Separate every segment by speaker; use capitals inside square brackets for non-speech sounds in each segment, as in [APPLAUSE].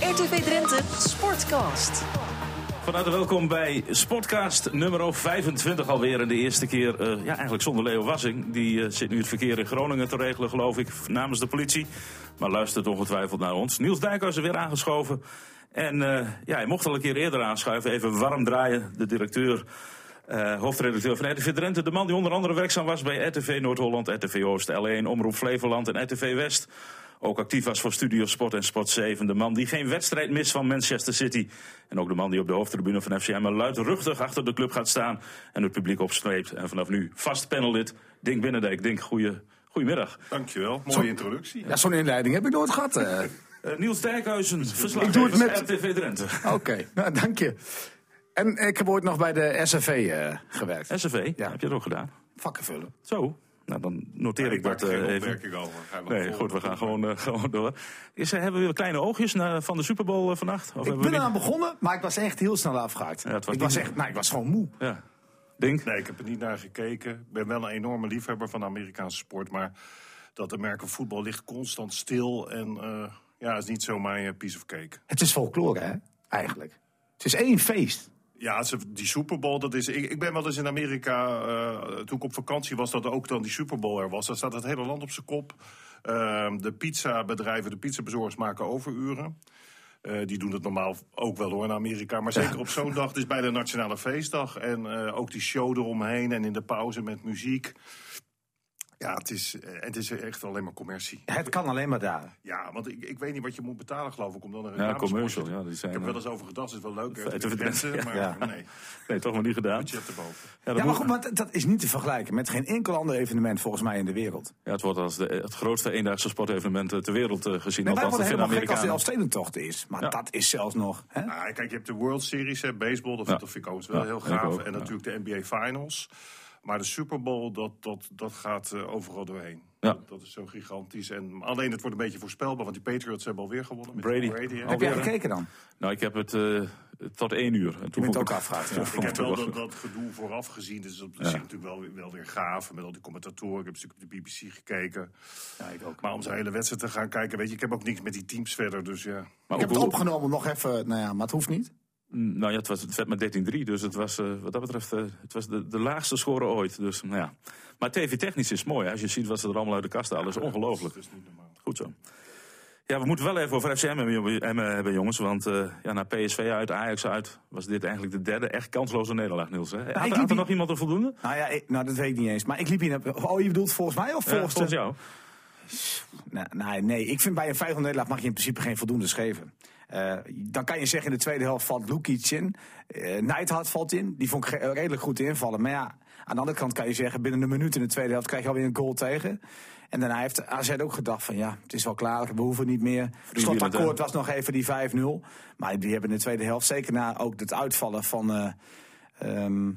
Speaker 1: RTV Drenthe Sportcast.
Speaker 2: Van harte welkom bij Sportcast nummer 25 alweer. En de eerste keer, eh, ja, eigenlijk zonder Leo Wassing. Die eh, zit nu het verkeer in Groningen te regelen, geloof ik, namens de politie. Maar luistert ongetwijfeld naar ons. Niels Dijkhuis is weer aangeschoven. En eh, ja, hij mocht al een keer eerder aanschuiven. Even warm draaien, de directeur, eh, hoofdredacteur van RTV Drenthe. De man die onder andere werkzaam was bij RTV Noord-Holland, RTV Oost, L1, Omroep Flevoland en RTV West. Ook actief was voor Studio Sport en Sport 7. De man die geen wedstrijd mist van Manchester City. En ook de man die op de hoofdtribune van FCM luidruchtig achter de club gaat staan. En het publiek opstreept. En vanaf nu vast panellid Dink Binnendijk. Dink, goeie, goedemiddag.
Speaker 3: Dankjewel, mooie introductie.
Speaker 4: Ja, zo'n inleiding heb ik nooit
Speaker 2: [LAUGHS]
Speaker 4: gehad. eh.
Speaker 2: Eh, Niels Dijkhuizen, verslag
Speaker 4: Ik doe het met-
Speaker 2: RTV Drenthe.
Speaker 4: Oké, nou, dank je. En ik heb ooit nog bij de SFV eh, gewerkt.
Speaker 2: SFV,
Speaker 4: Ja.
Speaker 2: heb je dat ook gedaan?
Speaker 4: Vakken vullen.
Speaker 2: Zo, nou dan noteer
Speaker 3: Ik
Speaker 2: ik
Speaker 3: maak
Speaker 2: dat
Speaker 3: er
Speaker 2: eh,
Speaker 3: geen
Speaker 2: even.
Speaker 3: opmerking over. Ga maar
Speaker 2: Nee,
Speaker 3: voor.
Speaker 2: goed, we gaan gewoon, eh, [LAUGHS] gewoon door. Is, eh, hebben we weer kleine oogjes naar, van de Super Bowl eh, vannacht? Of hebben
Speaker 4: Ik
Speaker 2: we
Speaker 4: ben
Speaker 2: niet?
Speaker 4: eraan begonnen, maar ik was echt heel snel afgehaakt.
Speaker 2: Ja, het was
Speaker 4: ik, was
Speaker 2: niet-
Speaker 4: echt, nou, ik was gewoon moe.
Speaker 2: Ja. Dink?
Speaker 3: Nee, ik heb er niet naar gekeken. Ik ben wel een enorme liefhebber van de Amerikaanse sport. Maar dat Amerika voetbal ligt constant stil. En eh, ja, is niet zo mijn eh, piece of cake.
Speaker 4: Het is folklore, hè? Eigenlijk. Het is één feest.
Speaker 3: Ja, ze- die Super Bowl, dat is. Ik, ik ben wel eens in Amerika. eh, toen ik op vakantie was, dat er ook dan die Super Bowl er was. Dan staat het hele land op zijn kop. Ehm, de pizzabedrijven, de pizzabezorgers maken overuren. Eh, die doen dat normaal ook wel hoor in Amerika. Maar zeker op zo'n dag, het is bij de Nationale Feestdag. En eh, ook die show eromheen en in de pauze met muziek. Ja, het is, eh, het is echt alleen maar commercie.
Speaker 4: Het kan alleen maar daar.
Speaker 3: Ja, want ik, ik weet niet wat je moet betalen, geloof ik, om dan een
Speaker 2: Ja,
Speaker 3: reclamespotje
Speaker 2: commercial.
Speaker 3: te-
Speaker 2: Ja, die zijn,
Speaker 3: Ik heb
Speaker 2: eh,
Speaker 3: wel eens over gedacht, het is wel leuk.
Speaker 2: Feiten
Speaker 3: eh, te
Speaker 2: verdreven, [LAUGHS]
Speaker 3: wensen,
Speaker 2: ja.
Speaker 3: maar
Speaker 4: Ja.
Speaker 3: nee,
Speaker 2: Nee, toch nog niet gedaan.
Speaker 3: budget erboven.
Speaker 2: dat
Speaker 4: Ja, maar
Speaker 2: moet-
Speaker 4: goed, want dat is niet te vergelijken met geen enkel ander evenement volgens mij in de wereld.
Speaker 2: Ja, het wordt als de, het grootste eendaagse sportevenement eh, ter wereld eh, gezien.
Speaker 4: En
Speaker 2: althans,
Speaker 4: wij worden
Speaker 2: dat vinden
Speaker 4: helemaal gek als de
Speaker 2: Amerikanen.
Speaker 4: Elfstedentocht is. Maar
Speaker 2: Ja.
Speaker 4: dat is zelfs nog... Hè?
Speaker 3: Nou, kijk, je hebt de World Series, hè, baseball, dat,
Speaker 2: Ja.
Speaker 3: dat vind ik overigens wel
Speaker 2: Ja,
Speaker 3: heel
Speaker 2: vind ik
Speaker 3: gaaf.
Speaker 2: ook,
Speaker 3: en
Speaker 2: ja.
Speaker 3: natuurlijk de NBA Finals. Maar de Super Bowl, dat, dat, dat gaat eh, overal doorheen.
Speaker 2: Ja.
Speaker 3: Dat, dat is zo gigantisch. En alleen het wordt een beetje voorspelbaar, want die Patriots hebben alweer gewonnen. Met
Speaker 2: Brady.
Speaker 3: hè.
Speaker 2: Alweer.
Speaker 4: heb jij gekeken dan?
Speaker 2: Nou, ik heb het eh, tot één uur. En [LAUGHS] toen
Speaker 4: Je bent
Speaker 2: vond
Speaker 4: ook
Speaker 2: ik-
Speaker 4: afgehaakt. ja.
Speaker 3: Ik heb wel
Speaker 2: Ja.
Speaker 3: dat, dat gedoe vooraf gezien. Dus dat is natuurlijk wel, weer- wel weer gaaf. Met al die commentatoren. Ik heb natuurlijk op de BBC gekeken.
Speaker 4: Ja, ik ook.
Speaker 3: Maar om zijn hele wedstrijd te gaan kijken, weet je, ik heb ook niks met die teams verder. Dus ja.
Speaker 2: Maar
Speaker 4: ik heb
Speaker 2: ook
Speaker 4: het
Speaker 2: hoe-
Speaker 4: opgenomen nog even, nou ja, maar het hoeft niet.
Speaker 2: Mm, Nou ja, het, was, het werd met 13-3, dus het was, eh, wat dat betreft eh, het was de, de laagste score ooit. Dus, nou ja. Maar TV-technisch is het mooi. hè. Als je ziet wat ze er allemaal uit de kast halen, is ongelooflijk.
Speaker 3: Dat is niet normaal.
Speaker 2: Goed zo. Ja, we moeten wel even over FCM hebben, jongen- Emmen hebben, jongens. Want eh, ja, na PSV uit, Ajax uit, was dit eigenlijk de derde echt kansloze nederlaag, Niels. Hè? Had,
Speaker 4: Nou, liep
Speaker 2: had er
Speaker 4: hier-
Speaker 2: nog iemand een voldoende?
Speaker 4: Nou ja, ik- nou, dat weet ik niet eens. Maar ik liep hier naar... Oh, je bedoelt volgens mij of
Speaker 2: Ja,
Speaker 4: volgens, de-
Speaker 2: Eh, volgens jou.
Speaker 4: Nee, Nou, nee, nee, ik vind bij een 500 nederlaag mag je in principe geen voldoende geven. Eh, dan kan je zeggen in de tweede helft valt Lukic in. Eh Neidhart valt in. Die vond ik ge- redelijk goed invallen. Maar ja, aan de andere kant kan je zeggen binnen een minuut in de tweede helft krijg je alweer een goal tegen. En daarna heeft AZ ook gedacht van ja, het is wel klaar, we hoeven niet meer. Het slotakkoord was nog even die 5-0. Maar die hebben in de tweede helft, zeker na ook het uitvallen van eh ehm,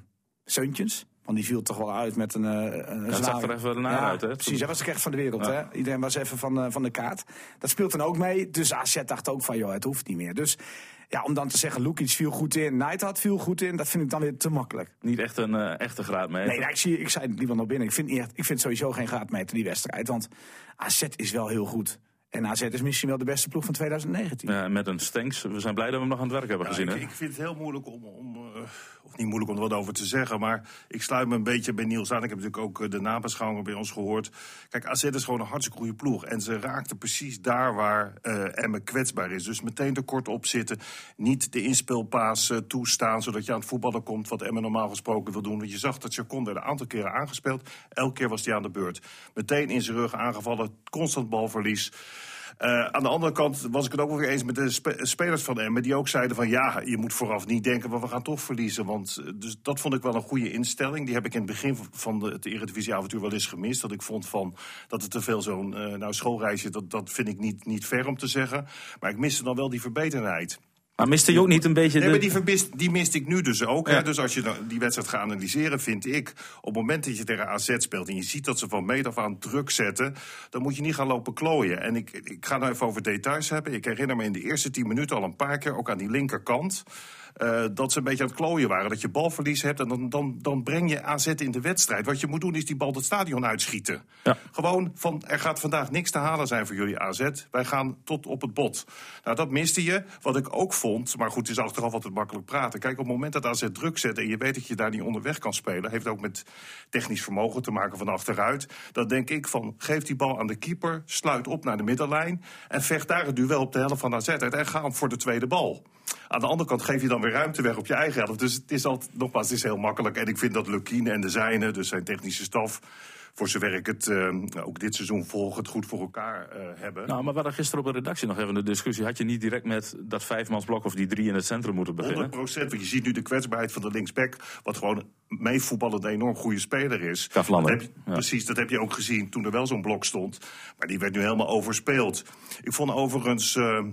Speaker 4: Seuntjens. Want die viel toch wel uit met een, eh, een
Speaker 2: het zag
Speaker 4: slager.
Speaker 2: er even naar uit, hè?
Speaker 4: Precies, hij was ook echt van de wereld.
Speaker 2: Ja.
Speaker 4: Hè? Iedereen was even van, eh, van de kaart. Dat speelt dan ook mee. Dus AZ dacht ook van, joh, het hoeft niet meer. Dus ja, om dan te zeggen, Lukic viel goed in, Neidhart viel goed in. Dat vind ik dan weer te makkelijk.
Speaker 2: Niet echt een eh, echte graadmeter.
Speaker 4: Nee, nou, ik, zie, ik zei het liever nog binnen. Ik vind, niet echt, ik vind sowieso geen graadmeter die wedstrijd. Want AZ is wel heel goed. En AZ is misschien wel de beste ploeg van 2019.
Speaker 2: Ja, Eh, met een Stenks. We zijn blij dat we hem nog aan het werk hebben gezien.
Speaker 3: Ja,
Speaker 2: Hè?
Speaker 3: ik, ik vind het heel moeilijk om, om eh, of niet moeilijk om er wat over te zeggen, maar ik sluit me een beetje bij Niels aan. Ik heb natuurlijk ook eh, de nabeschouwingen bij ons gehoord. Kijk, AZ is gewoon een hartstikke goede ploeg en ze raakten precies daar waar eh Emmen kwetsbaar is. Dus meteen tekort op zitten, niet de inspeelpaas eh, toestaan, zodat je aan het voetballen komt wat Emmen normaal gesproken wil doen. Want je zag dat Chacon werd een aantal keren aangespeeld, elke keer was hij aan de beurt. Meteen in zijn rug aangevallen, constant balverlies. Eh, aan de andere kant was ik het ook wel weer eens met de spe- spelers van Emmen... die ook zeiden van ja, je moet vooraf niet denken... maar we gaan toch verliezen. Want eh, dus dat vond ik wel een goede instelling. Die heb ik in het begin van de, het Eredivisie-avontuur wel eens gemist. Dat ik vond van, dat het te veel zo'n eh, nou, schoolreisje... Dat, dat vind ik niet, niet ver om te zeggen. Maar ik miste dan wel die verbeterheid.
Speaker 2: Maar miste je ook niet een beetje...
Speaker 3: Nee,
Speaker 2: de...
Speaker 3: maar die, verbist, die miste ik nu dus ook.
Speaker 2: Ja.
Speaker 3: Hè? Dus als je dan die wedstrijd gaat analyseren, vind ik... op het moment dat je tegen AZ speelt en je ziet dat ze van meet af aan druk zetten... dan moet je niet gaan lopen klooien. En ik, ik ga nou even over details hebben. Ik herinner me in de eerste tien minuten al een paar keer, ook aan die linkerkant... eh, dat ze een beetje aan het klooien waren. Dat je balverlies hebt en dan, dan, dan breng je AZ in de wedstrijd. Wat je moet doen is die bal het stadion uitschieten.
Speaker 2: Ja.
Speaker 3: Gewoon van er gaat vandaag niks te halen zijn voor jullie AZ. Wij gaan tot op het bot. Nou, dat miste je. Wat ik ook vond, maar goed, het is achteraf altijd makkelijk praten. Kijk, op het moment dat AZ druk zet en je weet dat je daar niet onderweg kan spelen, heeft ook met technisch vermogen te maken van achteruit. Dan denk ik van geef die bal aan de keeper, sluit op naar de middenlijn en vecht daar het duel op de helft van AZ uit en ga hem voor de tweede bal. Aan de andere kant geef je dan weer ruimte weg op je eigen helft. Dus het is altijd, nogmaals, het is heel makkelijk. En ik vind dat Lukien en de zijne, dus zijn technische staf, voor zover ik het eh, ook dit seizoen volg, het goed voor elkaar eh, hebben.
Speaker 2: Nou, maar we hadden gisteren op de redactie nog even de discussie. Had je niet direct met dat vijfmansblok of die drie in het centrum moeten
Speaker 3: 100
Speaker 2: beginnen?
Speaker 3: procent, want je ziet nu de kwetsbaarheid van de linksback... wat gewoon meevoetballend een enorm goede speler is.
Speaker 2: Kavlander,
Speaker 3: Dat heb je-
Speaker 2: ja.
Speaker 3: Precies, dat heb je ook gezien toen er wel zo'n blok stond. Maar die werd nu helemaal overspeeld. Ik vond overigens... eh,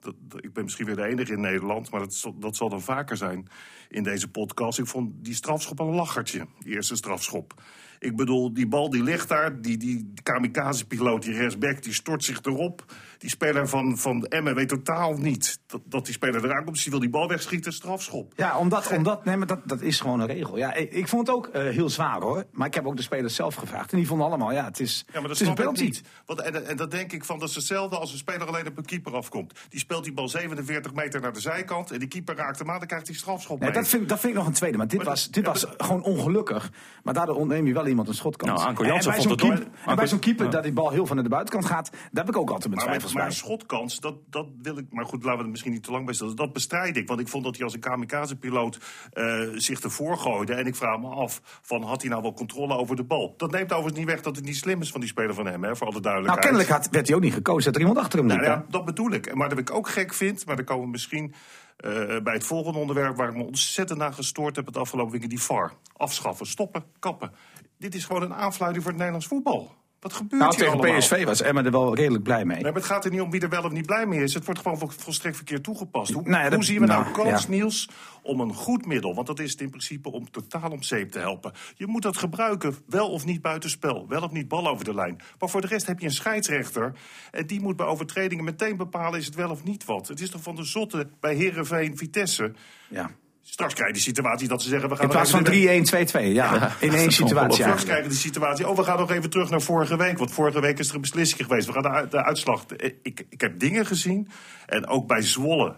Speaker 3: dat, dat- ik ben misschien weer de enige in Nederland, maar dat, zal- dat zal dan vaker zijn in deze podcast. Ik vond die strafschop een lachertje, die eerste strafschop. Ik bedoel, die bal die ligt daar, die, die kamikaze-piloot, die rechtsback, die stort zich erop. Die speler van, van Emmen weet totaal niet dat, dat die speler eraan komt. Dus die wil die bal wegschieten, strafschop.
Speaker 4: Ja, omdat, omdat nee, maar dat, dat is gewoon een regel. Ja, ik, ik vond het ook eh, heel zwaar hoor. Maar ik heb ook de spelers zelf gevraagd. En die vonden allemaal, ja, het is,
Speaker 3: Ja, maar dat
Speaker 4: het is een
Speaker 3: snap ik
Speaker 4: penalty.
Speaker 3: niet. Want, en, en dat denk ik van, dat is hetzelfde als een speler alleen op een keeper afkomt. Die speelt die bal 47 meter naar de zijkant en die keeper raakt hem aan, dan krijgt hij strafschop
Speaker 4: Nee,
Speaker 3: mee.
Speaker 4: dat, vind, dat vind ik nog een tweede. Maar dit
Speaker 3: Maar dat-
Speaker 4: was, dit was gewoon ongelukkig. Maar daardoor ontneem je wel iemand een schotkans.
Speaker 2: Nou, Anko
Speaker 4: En-
Speaker 2: Jansen
Speaker 4: en bij
Speaker 2: vond
Speaker 4: zo'n
Speaker 2: het ook-
Speaker 4: keeper, en
Speaker 2: Anko-
Speaker 4: bij zo'n keeper
Speaker 2: ja.
Speaker 4: dat die bal heel van naar de buitenkant gaat, daar heb ik ook altijd mijn
Speaker 3: Maar,
Speaker 4: twijfels
Speaker 3: maar
Speaker 4: bij. Nou,
Speaker 3: een schotkans, dat, dat wil ik. Maar goed, laten we er misschien niet te lang bij staan. Dat bestrijd ik. Want ik vond dat hij als een kamikaze-piloot eh, zich ervoor gooide. En ik vraag me af: van, had hij nou wel controle over de bal? Dat neemt overigens niet weg dat het niet slim is van die speler van hem, hè, voor alle
Speaker 4: Nou,
Speaker 3: duidelijkheid.
Speaker 4: kennelijk had, werd hij ook niet gekozen dat er iemand achter hem liep.
Speaker 3: Nou
Speaker 4: hè?
Speaker 3: ja, dat bedoel ik. Maar dat ik ook gek vind, maar dan komen we misschien eh, bij het volgende onderwerp waar ik me ontzettend naar gestoord heb het afgelopen weekend: die VAR. Afschaffen, stoppen, kappen. Dit is gewoon een aanfluiting voor het Nederlands voetbal. Wat gebeurt
Speaker 4: Nou,
Speaker 3: hier
Speaker 4: tegen
Speaker 3: allemaal?
Speaker 4: PSV was Emma er wel redelijk blij mee.
Speaker 3: Nee, maar het gaat er niet om wie er wel of niet blij mee is. Het wordt gewoon vol- volstrekt verkeerd toegepast. Hoe,
Speaker 4: Nou ja, dat-
Speaker 3: hoe zien we nou,
Speaker 4: nou,
Speaker 3: kans,
Speaker 4: ja.
Speaker 3: Niels, om een goed middel? Want dat is het in principe om totaal om zeep te helpen. Je moet dat gebruiken, wel of niet buitenspel. Wel of niet bal over de lijn. Maar voor de rest heb je een scheidsrechter. En die moet bij overtredingen meteen bepalen is het wel of niet wat. Het is toch van de zotte bij Herenveen, Vitesse.
Speaker 4: Ja.
Speaker 3: Straks krijg je die situatie dat ze zeggen... we gaan
Speaker 4: In
Speaker 3: nog
Speaker 4: plaats
Speaker 3: even
Speaker 4: van 3-1, 2-2.
Speaker 3: de-
Speaker 4: Ja,
Speaker 3: [LAUGHS]
Speaker 4: in één situatie
Speaker 3: Straks
Speaker 4: eigenlijk.
Speaker 3: krijgen we de situatie. Oh, we gaan nog even terug naar vorige week. Want vorige week is er een beslissing geweest. We gaan de, u- de uitslag. eh, Ik, ik heb dingen gezien. En ook bij Zwolle.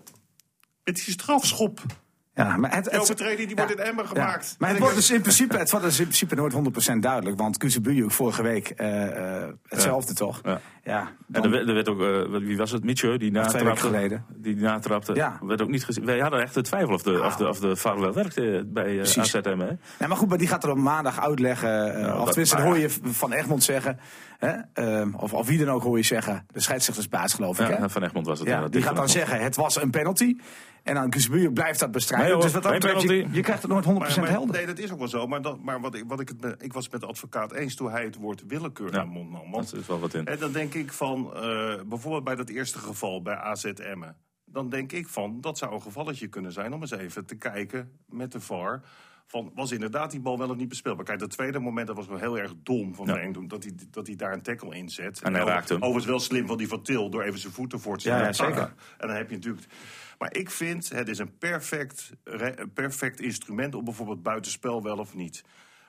Speaker 3: Het is strafschop.
Speaker 4: Ja, maar het,
Speaker 3: De overtreding die wordt in Emmen gemaakt.
Speaker 4: Maar het
Speaker 3: En
Speaker 4: wordt,
Speaker 3: ik-
Speaker 4: dus in principe, het wordt dus in principe nooit 100% duidelijk. Want Kuzebuju vorige week eh, eh, hetzelfde toch?
Speaker 2: Ja.
Speaker 4: Ja.
Speaker 2: En
Speaker 4: dan-
Speaker 2: er werd, er werd ook, eh, wie was het, Mitchell, die
Speaker 4: twee weken
Speaker 2: natrapte.
Speaker 4: geleden.
Speaker 2: Die natrapte,
Speaker 4: Ja.
Speaker 2: werd ook niet gezien. Wij hadden echt de twijfel of de, of de, of de VAR wel werkte bij eh
Speaker 4: Precies.
Speaker 2: AZM. Hè?
Speaker 4: Nee, Nou, maar goed, maar die gaat er op maandag uitleggen. eh
Speaker 2: Nou,
Speaker 4: of tenminste, dat hoor je van Egmond zeggen. Hè? eh, of, of wie dan ook hoor je zeggen. De scheidsrechtersbaas, geloof ik. Hè?
Speaker 2: Ja, van Egmond was het.
Speaker 4: Ja,
Speaker 2: inderdaad.
Speaker 4: die gaat dan
Speaker 2: Van Egmond.
Speaker 4: zeggen, het was een penalty. En dan Kuzebuju blijft dat bestrijden.
Speaker 2: Nee, hoor,
Speaker 4: dus wat dat
Speaker 2: geen
Speaker 4: betreft, je,
Speaker 2: penalty.
Speaker 4: je krijgt het nooit 100%
Speaker 3: Maar, maar-
Speaker 4: helder.
Speaker 3: nee, dat is ook wel zo. Maar, dat, maar wat, ik- wat ik, het me- ik was het met de advocaat eens toen hij het woord willekeur
Speaker 2: Ja,
Speaker 3: naar mond nam. Want
Speaker 2: Dat is wel wat in.
Speaker 3: En dan denk ik van, eh, bijvoorbeeld bij dat eerste geval bij AZ Emmen. Dan denk ik van, dat zou een gevalletje kunnen zijn om eens even te kijken met de VAR. Van, was inderdaad die bal wel of niet bespeelbaar? Kijk, dat tweede moment, dat was wel heel erg dom van
Speaker 2: Ja.
Speaker 3: Mengdoem. Dat hij, dat hij daar een tackle in zet.
Speaker 2: En hij
Speaker 3: ook-
Speaker 2: raakt hem.
Speaker 3: Overigens wel slim van die van Til, door even zijn voeten voor te zetten.
Speaker 4: Ja, ja,
Speaker 3: en takken.
Speaker 4: zeker.
Speaker 3: En dan heb je natuurlijk... Maar ik vind, het is een perfect, re- een perfect instrument om bijvoorbeeld buitenspel wel of niet.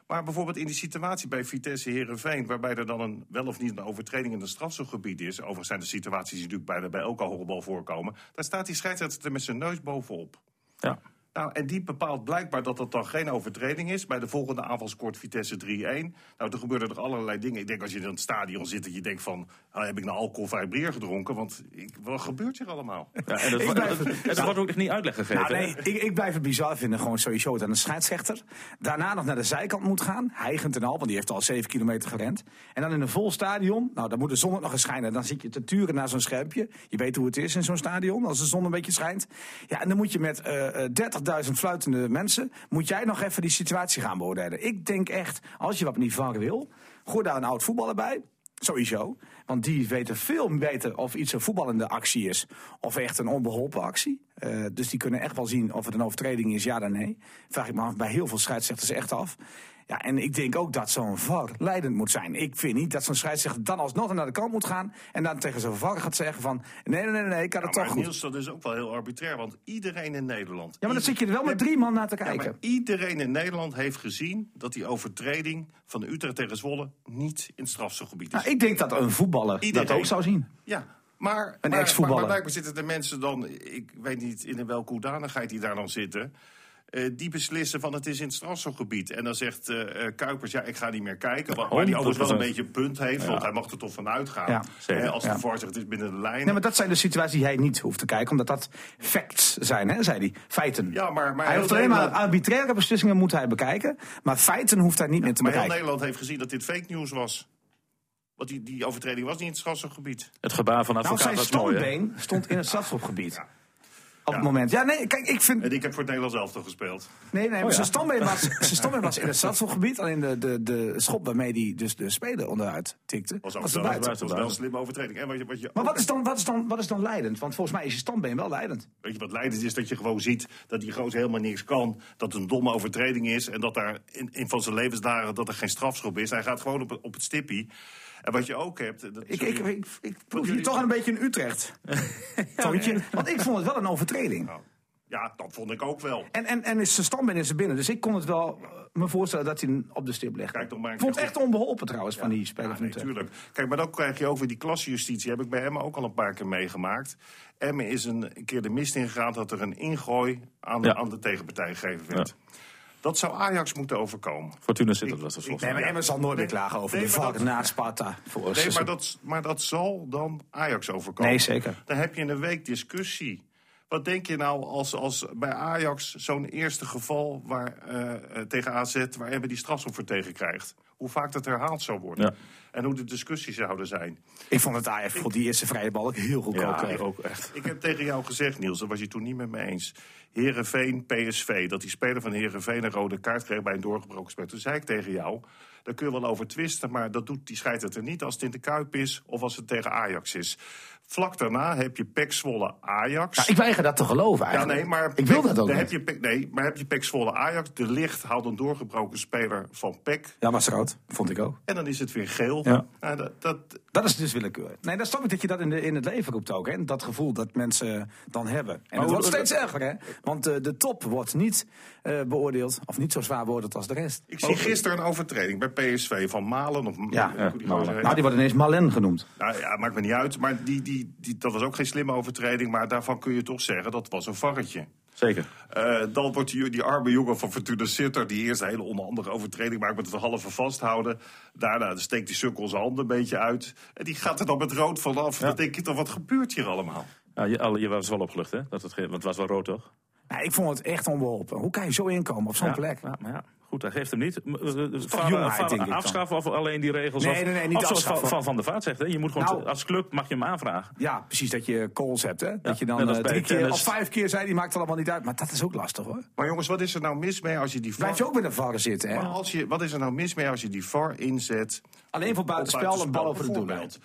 Speaker 3: Maar bijvoorbeeld in die situatie bij Vitesse Herenveen, waarbij er dan een, wel of niet een overtreding in het strafschopgebied is. Overigens zijn de situaties die natuurlijk bijna bij elke honkbal voorkomen. Daar staat die scheidsrechter met zijn neus bovenop.
Speaker 2: Ja.
Speaker 3: Nou, en die bepaalt blijkbaar dat dat dan geen overtreding is. Bij de volgende aanval scoort Vitesse 3-1. Nou, toen gebeurden er allerlei dingen. Ik denk als je in het stadion zit, dat je denkt van... ah, heb ik nou alcoholvrij bier gedronken? Want ik, wat gebeurt hier allemaal? Nou,
Speaker 2: Ja, en dat,
Speaker 4: Ik
Speaker 2: wordt-
Speaker 4: blijf-
Speaker 2: dat- dat wordt ook echt niet uitleg gegeven.
Speaker 4: Nou,
Speaker 2: hè?
Speaker 4: nee, ik, ik blijf het bizar vinden. Gewoon sowieso dat een scheidsrechter daarna nog naar de zijkant moet gaan. Hijgend en al, want die heeft al 7 kilometer gerend. En dan in een vol stadion. Nou, dan moet de zon ook nog eens schijnen. Dan zit je te turen naar zo'n schermpje. Je weet hoe het is in zo'n stadion, als de zon een beetje schijnt. Ja, en dan moet je met eh, eh, 30.000 fluitende mensen... moet jij nog even die situatie gaan beoordelen. Ik denk echt, als je wat niet vangen wil... gooi daar een oud voetballer bij... Sowieso. Want die weten veel beter of iets een voetballende actie is. Of echt een onbeholpen actie. Eh, dus die kunnen echt wel zien of het een overtreding is, ja dan nee. Vraag ik me af bij heel veel scheidsrechters echt af. Ja, en ik denk ook dat zo'n VAR leidend moet zijn. Ik vind niet dat zo'n scheidsrechter dan alsnog naar de kant moet gaan... en dan tegen zo'n VAR gaat zeggen van... nee, nee, nee, nee, ik had het
Speaker 3: Ja,
Speaker 4: toch
Speaker 3: maar
Speaker 4: goed.
Speaker 3: Niels, dat is ook wel heel arbitrair, want iedereen in Nederland...
Speaker 4: Ja, maar dan
Speaker 3: ieder-
Speaker 4: zit je er wel met drie man naar te
Speaker 3: Ja, maar
Speaker 4: kijken.
Speaker 3: iedereen in Nederland heeft gezien dat die overtreding van Utrecht tegen Zwolle niet in het strafschopgebied is.
Speaker 4: Nou, ik denk dat een voetballer
Speaker 3: Iedereen.
Speaker 4: dat ook zou zien.
Speaker 3: Ja, maar,
Speaker 4: Een
Speaker 3: maar, maar,
Speaker 4: ex-voetballer.
Speaker 3: maar blijkbaar zitten de mensen dan, ik weet niet in welke hoedanigheid die daar dan zitten. eh, die beslissen van het is in het strafschopgebied. En dan zegt eh, eh, Kuipers, ja, ik ga niet meer kijken. Waar, waar die overigens wel een
Speaker 2: 100%.
Speaker 3: beetje een punt heeft, want hij mag er toch van uitgaan.
Speaker 4: Ja,
Speaker 2: zeker,
Speaker 3: Eh, als de
Speaker 4: ja.
Speaker 3: VAR zegt, het is binnen de lijn.
Speaker 4: Nee, maar dat zijn de situaties die hij niet hoeft te kijken, omdat dat facts zijn, hè, zei hij. Feiten.
Speaker 3: Ja, maar- maar
Speaker 4: hij
Speaker 3: heel
Speaker 4: hoeft alleen maar
Speaker 3: Nederland-
Speaker 4: arbitraire beslissingen moet hij bekijken, maar feiten hoeft hij niet meer te
Speaker 3: Maar heel
Speaker 4: bekijken.
Speaker 3: Nederland heeft gezien dat dit fake news was. Want die, die overtreding was niet in het strafschopgebied.
Speaker 2: Het gebaar van
Speaker 4: Nou,
Speaker 2: advocaat
Speaker 4: zijn
Speaker 2: was mooi. hè?
Speaker 4: standbeen stond in het strafschopgebied. Op het moment. Ja, nee, kijk, ik vind.
Speaker 3: En ik heb voor het Nederlands elftal gespeeld.
Speaker 4: Nee, nee, maar zijn, standbeen
Speaker 3: [LAUGHS]
Speaker 4: was, zijn standbeen was in het strafschopgebied. Alleen de, de, de schop waarmee hij dus de speler onderuit tikte, was,
Speaker 3: Was, ook
Speaker 4: er
Speaker 3: wel,
Speaker 4: buiten.
Speaker 3: was wel een slimme overtreding. En wat je, wat je
Speaker 4: Maar wat is, dan, wat, is dan, wat is dan leidend? Want volgens mij is je standbeen wel leidend.
Speaker 3: Weet je wat leidend is? Dat je gewoon ziet dat die gozer helemaal niks kan. Dat het een domme overtreding is. En dat daar in, in van zijn levensdagen dat er geen strafschop is. Hij gaat gewoon op, het- op het stippie. En wat je ook hebt... Dat,
Speaker 4: Ik, ik, ik, ik proef hier
Speaker 3: jullie-
Speaker 4: toch een beetje een
Speaker 3: [LAUGHS]
Speaker 4: Utrecht. Toontje. Want ik vond het wel een overtreding.
Speaker 3: Nou, ja, dat vond ik ook wel.
Speaker 4: En, en, en is zijn standbeen is er binnen. Dus ik kon het wel eh, me voorstellen dat hij hem op de stip legt.
Speaker 3: Kijk nog maar een
Speaker 4: vond het
Speaker 3: keer
Speaker 4: echt onbeholpen trouwens van die speler
Speaker 3: Ja,
Speaker 4: van
Speaker 3: nee,
Speaker 4: Utrecht.
Speaker 3: tuurlijk. Kijk, maar dan krijg je ook weer die klassenjustitie. Heb ik bij Emma ook al een paar keer meegemaakt. Emma is een keer de mist ingegaan dat er een ingooi aan,
Speaker 2: Ja.
Speaker 3: aan de tegenpartij gegeven werd. Dat zou Ajax moeten overkomen.
Speaker 2: Fortuna zit dat
Speaker 3: Ik-
Speaker 2: was er
Speaker 3: ik-
Speaker 2: volgens
Speaker 4: Nee,
Speaker 2: mij.
Speaker 4: maar Emma zal nooit meer klagen over
Speaker 3: Nee,
Speaker 4: de
Speaker 3: maar
Speaker 4: VAR
Speaker 3: dat-
Speaker 4: na Sparta. Voor
Speaker 3: Nee,
Speaker 4: seizoen.
Speaker 3: maar dat, maar dat zal dan Ajax overkomen.
Speaker 4: Nee, zeker.
Speaker 3: Dan heb je in een week discussie. Wat denk je nou als, als bij Ajax zo'n eerste geval waar, eh, eh, tegen AZ... waar hebben die strafschop voor tegen krijgt? Hoe vaak dat herhaald zou worden.
Speaker 2: Ja.
Speaker 3: En hoe de discussies zouden zijn.
Speaker 4: Ik vond het Ajax voor die eerste vrije bal ook heel goedkoop.
Speaker 2: Ja,
Speaker 4: hè.
Speaker 2: ik ook echt.
Speaker 3: Ik heb tegen jou gezegd, Niels, daar was je toen niet met me eens. Herenveen, PSV, dat die speler van Herenveen een rode kaart kreeg bij een doorgebroken spel. Toen zei ik tegen jou, daar kun je wel over twisten, maar dat doet die scheidt er niet als het in de Kuip is of als het tegen Ajax is. Vlak daarna heb je Pek Zwolle Ajax.
Speaker 5: Nou, ik weiger dat te geloven
Speaker 3: Ja,
Speaker 5: eigenlijk.
Speaker 3: nee, maar
Speaker 5: ik wil
Speaker 3: Pek-
Speaker 5: dat ook
Speaker 3: dan
Speaker 5: niet.
Speaker 3: heb je Pek, Nee, maar heb je Pek Zwolle Ajax, de licht haalt een doorgebroken speler van Pek.
Speaker 4: Ja, was rood. Vond ik ook.
Speaker 3: En dan is het weer geel.
Speaker 4: Ja.
Speaker 3: Nou, dat, dat,
Speaker 4: Dat is dus willekeur. Nee, dan snap ik dat je dat in, de, in het leven roept ook. Hè? En Dat gevoel dat mensen dan hebben. En het
Speaker 2: hoe-
Speaker 4: wordt steeds erger, hè? Want eh, de top wordt niet eh, beoordeeld, of niet zo zwaar beoordeeld als de rest. Oh.
Speaker 3: ik
Speaker 5: Oh.
Speaker 3: zie gisteren een overtreding bij PSV van Malen. Of,
Speaker 4: Ja,
Speaker 3: hoe
Speaker 4: ja,
Speaker 3: die gozer
Speaker 4: Malen.
Speaker 3: heet.
Speaker 4: nou, die wordt ineens Malen genoemd.
Speaker 3: Nou ja, maakt me niet uit. Maar die, die, die, dat was ook geen slimme overtreding. Maar daarvan kun je toch zeggen, dat was een varretje.
Speaker 2: Zeker.
Speaker 3: Eh, dan wordt die, die arme jongen van Fortuna Sitter... die eerst een hele onhandige overtreding maakt... met het halve vasthouden. Daarna steekt die sukkel zijn handen een beetje uit. En die gaat er dan met rood vanaf. Dan denk je toch, wat gebeurt hier allemaal?
Speaker 2: Ja, je, alle- je was wel opgelucht, hè? Dat het, ge- want het was wel rood, toch?
Speaker 4: Nou, ik vond het echt onbeholpen. Hoe kan je zo inkomen op zo'n
Speaker 2: Ja,
Speaker 4: plek?
Speaker 2: Ja, maar ja, goed, hij geeft hem niet. M- eh, eh, varen-
Speaker 4: jongheid,
Speaker 2: varen
Speaker 4: denk ik dan.
Speaker 2: afschaffen of alleen die regels?
Speaker 4: Nee,
Speaker 2: af-
Speaker 4: nee, nee, niet
Speaker 2: of zoals van,
Speaker 4: afschaffen.
Speaker 2: van Van der Vaart zegt, hè? Je moet gewoon
Speaker 4: Nou.
Speaker 2: t- als club mag je hem aanvragen.
Speaker 4: Ja, precies dat je calls hebt, hè? dat je dan
Speaker 2: net als
Speaker 4: eh,
Speaker 2: bij
Speaker 4: drie keer
Speaker 2: tennis.
Speaker 4: of vijf keer zei, die maakt het allemaal niet uit. Maar dat is ook lastig, hoor.
Speaker 3: Maar jongens, wat is er nou mis mee als je die
Speaker 4: Blijf je
Speaker 3: VAR...
Speaker 4: ook met een varren zitten, hè?
Speaker 3: Maar als je, wat is er nou mis mee als je die VAR inzet?
Speaker 4: Alleen voor buitenspel en bal over de doellijn.
Speaker 3: bijvoorbeeld.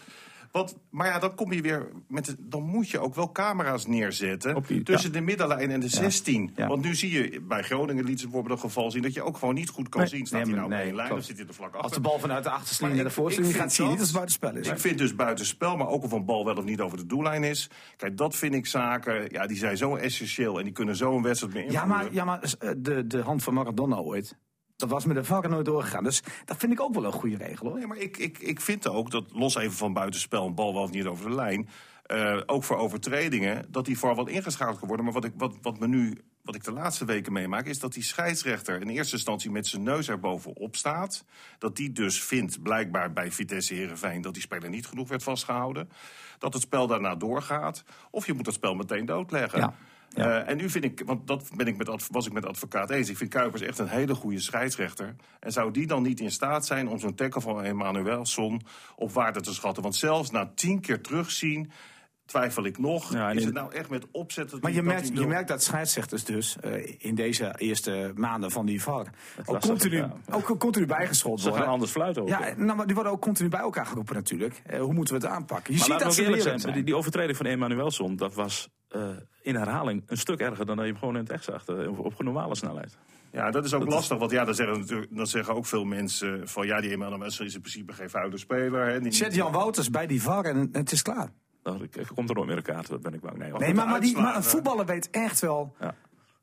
Speaker 3: Want, maar ja, dan kom je weer met de- dan moet je ook wel camera's neerzetten
Speaker 2: Op die-
Speaker 3: tussen de middenlijn en de 16.
Speaker 4: ja.
Speaker 3: Want nu zie je bij Groningen liet ze bijvoorbeeld een geval zien dat je ook gewoon niet goed kan
Speaker 4: Nee,
Speaker 3: zien. Staat
Speaker 4: nee,
Speaker 3: hij nou
Speaker 4: nee,
Speaker 3: bij een lijn
Speaker 4: klopt.
Speaker 3: of zit hij er vlak
Speaker 4: Als de
Speaker 3: achter?
Speaker 4: bal vanuit de achterste naar
Speaker 3: ik-
Speaker 4: de voorste linie
Speaker 3: ik
Speaker 4: gaat,
Speaker 3: vind
Speaker 4: zie je niet als
Speaker 3: dat-
Speaker 4: het buitenspel is.
Speaker 3: Ik vind dus buitenspel, maar ook of een bal wel of niet over de doellijn is. Kijk, dat vind ik zaken, ja, die zijn zo essentieel en die kunnen zo een wedstrijd meer
Speaker 4: Ja,
Speaker 3: invloeden.
Speaker 4: maar, ja, maar eh, de, de hand van Maradona ooit. Dat was met de varken nooit doorgegaan. Dus dat vind ik ook wel een goede regel hoor.
Speaker 3: Nee, maar ik, ik, ik vind ook dat, los even van buitenspel, een bal wel of niet over de lijn. eh, ook voor overtredingen, dat die voor wat ingeschakeld kan worden. Maar wat ik, wat, wat me nu, wat ik de laatste weken meemaak, is dat die scheidsrechter in eerste instantie met zijn neus erbovenop staat. Dat die dus vindt, blijkbaar bij Vitesse Herenveen, dat die speler niet genoeg werd vastgehouden. Dat het spel daarna doorgaat. Of je moet dat spel meteen doodleggen.
Speaker 4: Ja, ja.
Speaker 3: Eh, en nu vind ik, want dat ben ik met, adv- was ik met advocaat eens. Ik vind Kuipers echt een hele goede scheidsrechter. En zou die dan niet in staat zijn om zo'n tackle van Emmanuelson op waarde te schatten? Want zelfs na tien keer terugzien twijfel ik nog.
Speaker 2: Ja, en
Speaker 3: is
Speaker 2: in-
Speaker 3: het nou echt met opzet? dat
Speaker 4: Maar
Speaker 3: die-
Speaker 4: je
Speaker 3: dat
Speaker 4: merkt,
Speaker 3: die
Speaker 4: je
Speaker 3: nul-
Speaker 4: merkt dat scheidsrechters dus eh, in deze eerste maanden van die VAR ook
Speaker 2: lastig,
Speaker 4: continu,
Speaker 2: ja.
Speaker 4: ook continu bijgeschot
Speaker 2: Ze gaan
Speaker 4: worden.
Speaker 2: anders fluiten ook.
Speaker 4: Ja, nou, maar die worden ook continu bij elkaar geroepen natuurlijk. Eh, hoe moeten we het aanpakken? Je
Speaker 2: Maar
Speaker 4: ziet
Speaker 2: laten
Speaker 4: dat
Speaker 2: we
Speaker 4: ze
Speaker 2: ook eerlijk zijn.
Speaker 4: eerlijk zijn.
Speaker 2: Die, die overtreding van Emmanuelson, dat was eh, in herhaling een stuk erger dan dat je hem gewoon in het echt zag. eh, op, op normale snelheid.
Speaker 3: Ja, dat is ook lastig. Want ja, dan zeggen, natuurlijk, dan zeggen ook veel mensen van ja, die Emmanuel Wessel is in principe geen vuile speler. Hè, die-
Speaker 4: Zet Jan Wouters bij die VAR en het is klaar.
Speaker 2: Dan komt er nooit meer een kaart, daar ben ik bang. Nee, hoor.
Speaker 4: Nee, maar, maar, die, maar een
Speaker 3: uitslagen.
Speaker 4: voetballer weet echt wel
Speaker 2: eh. Ja.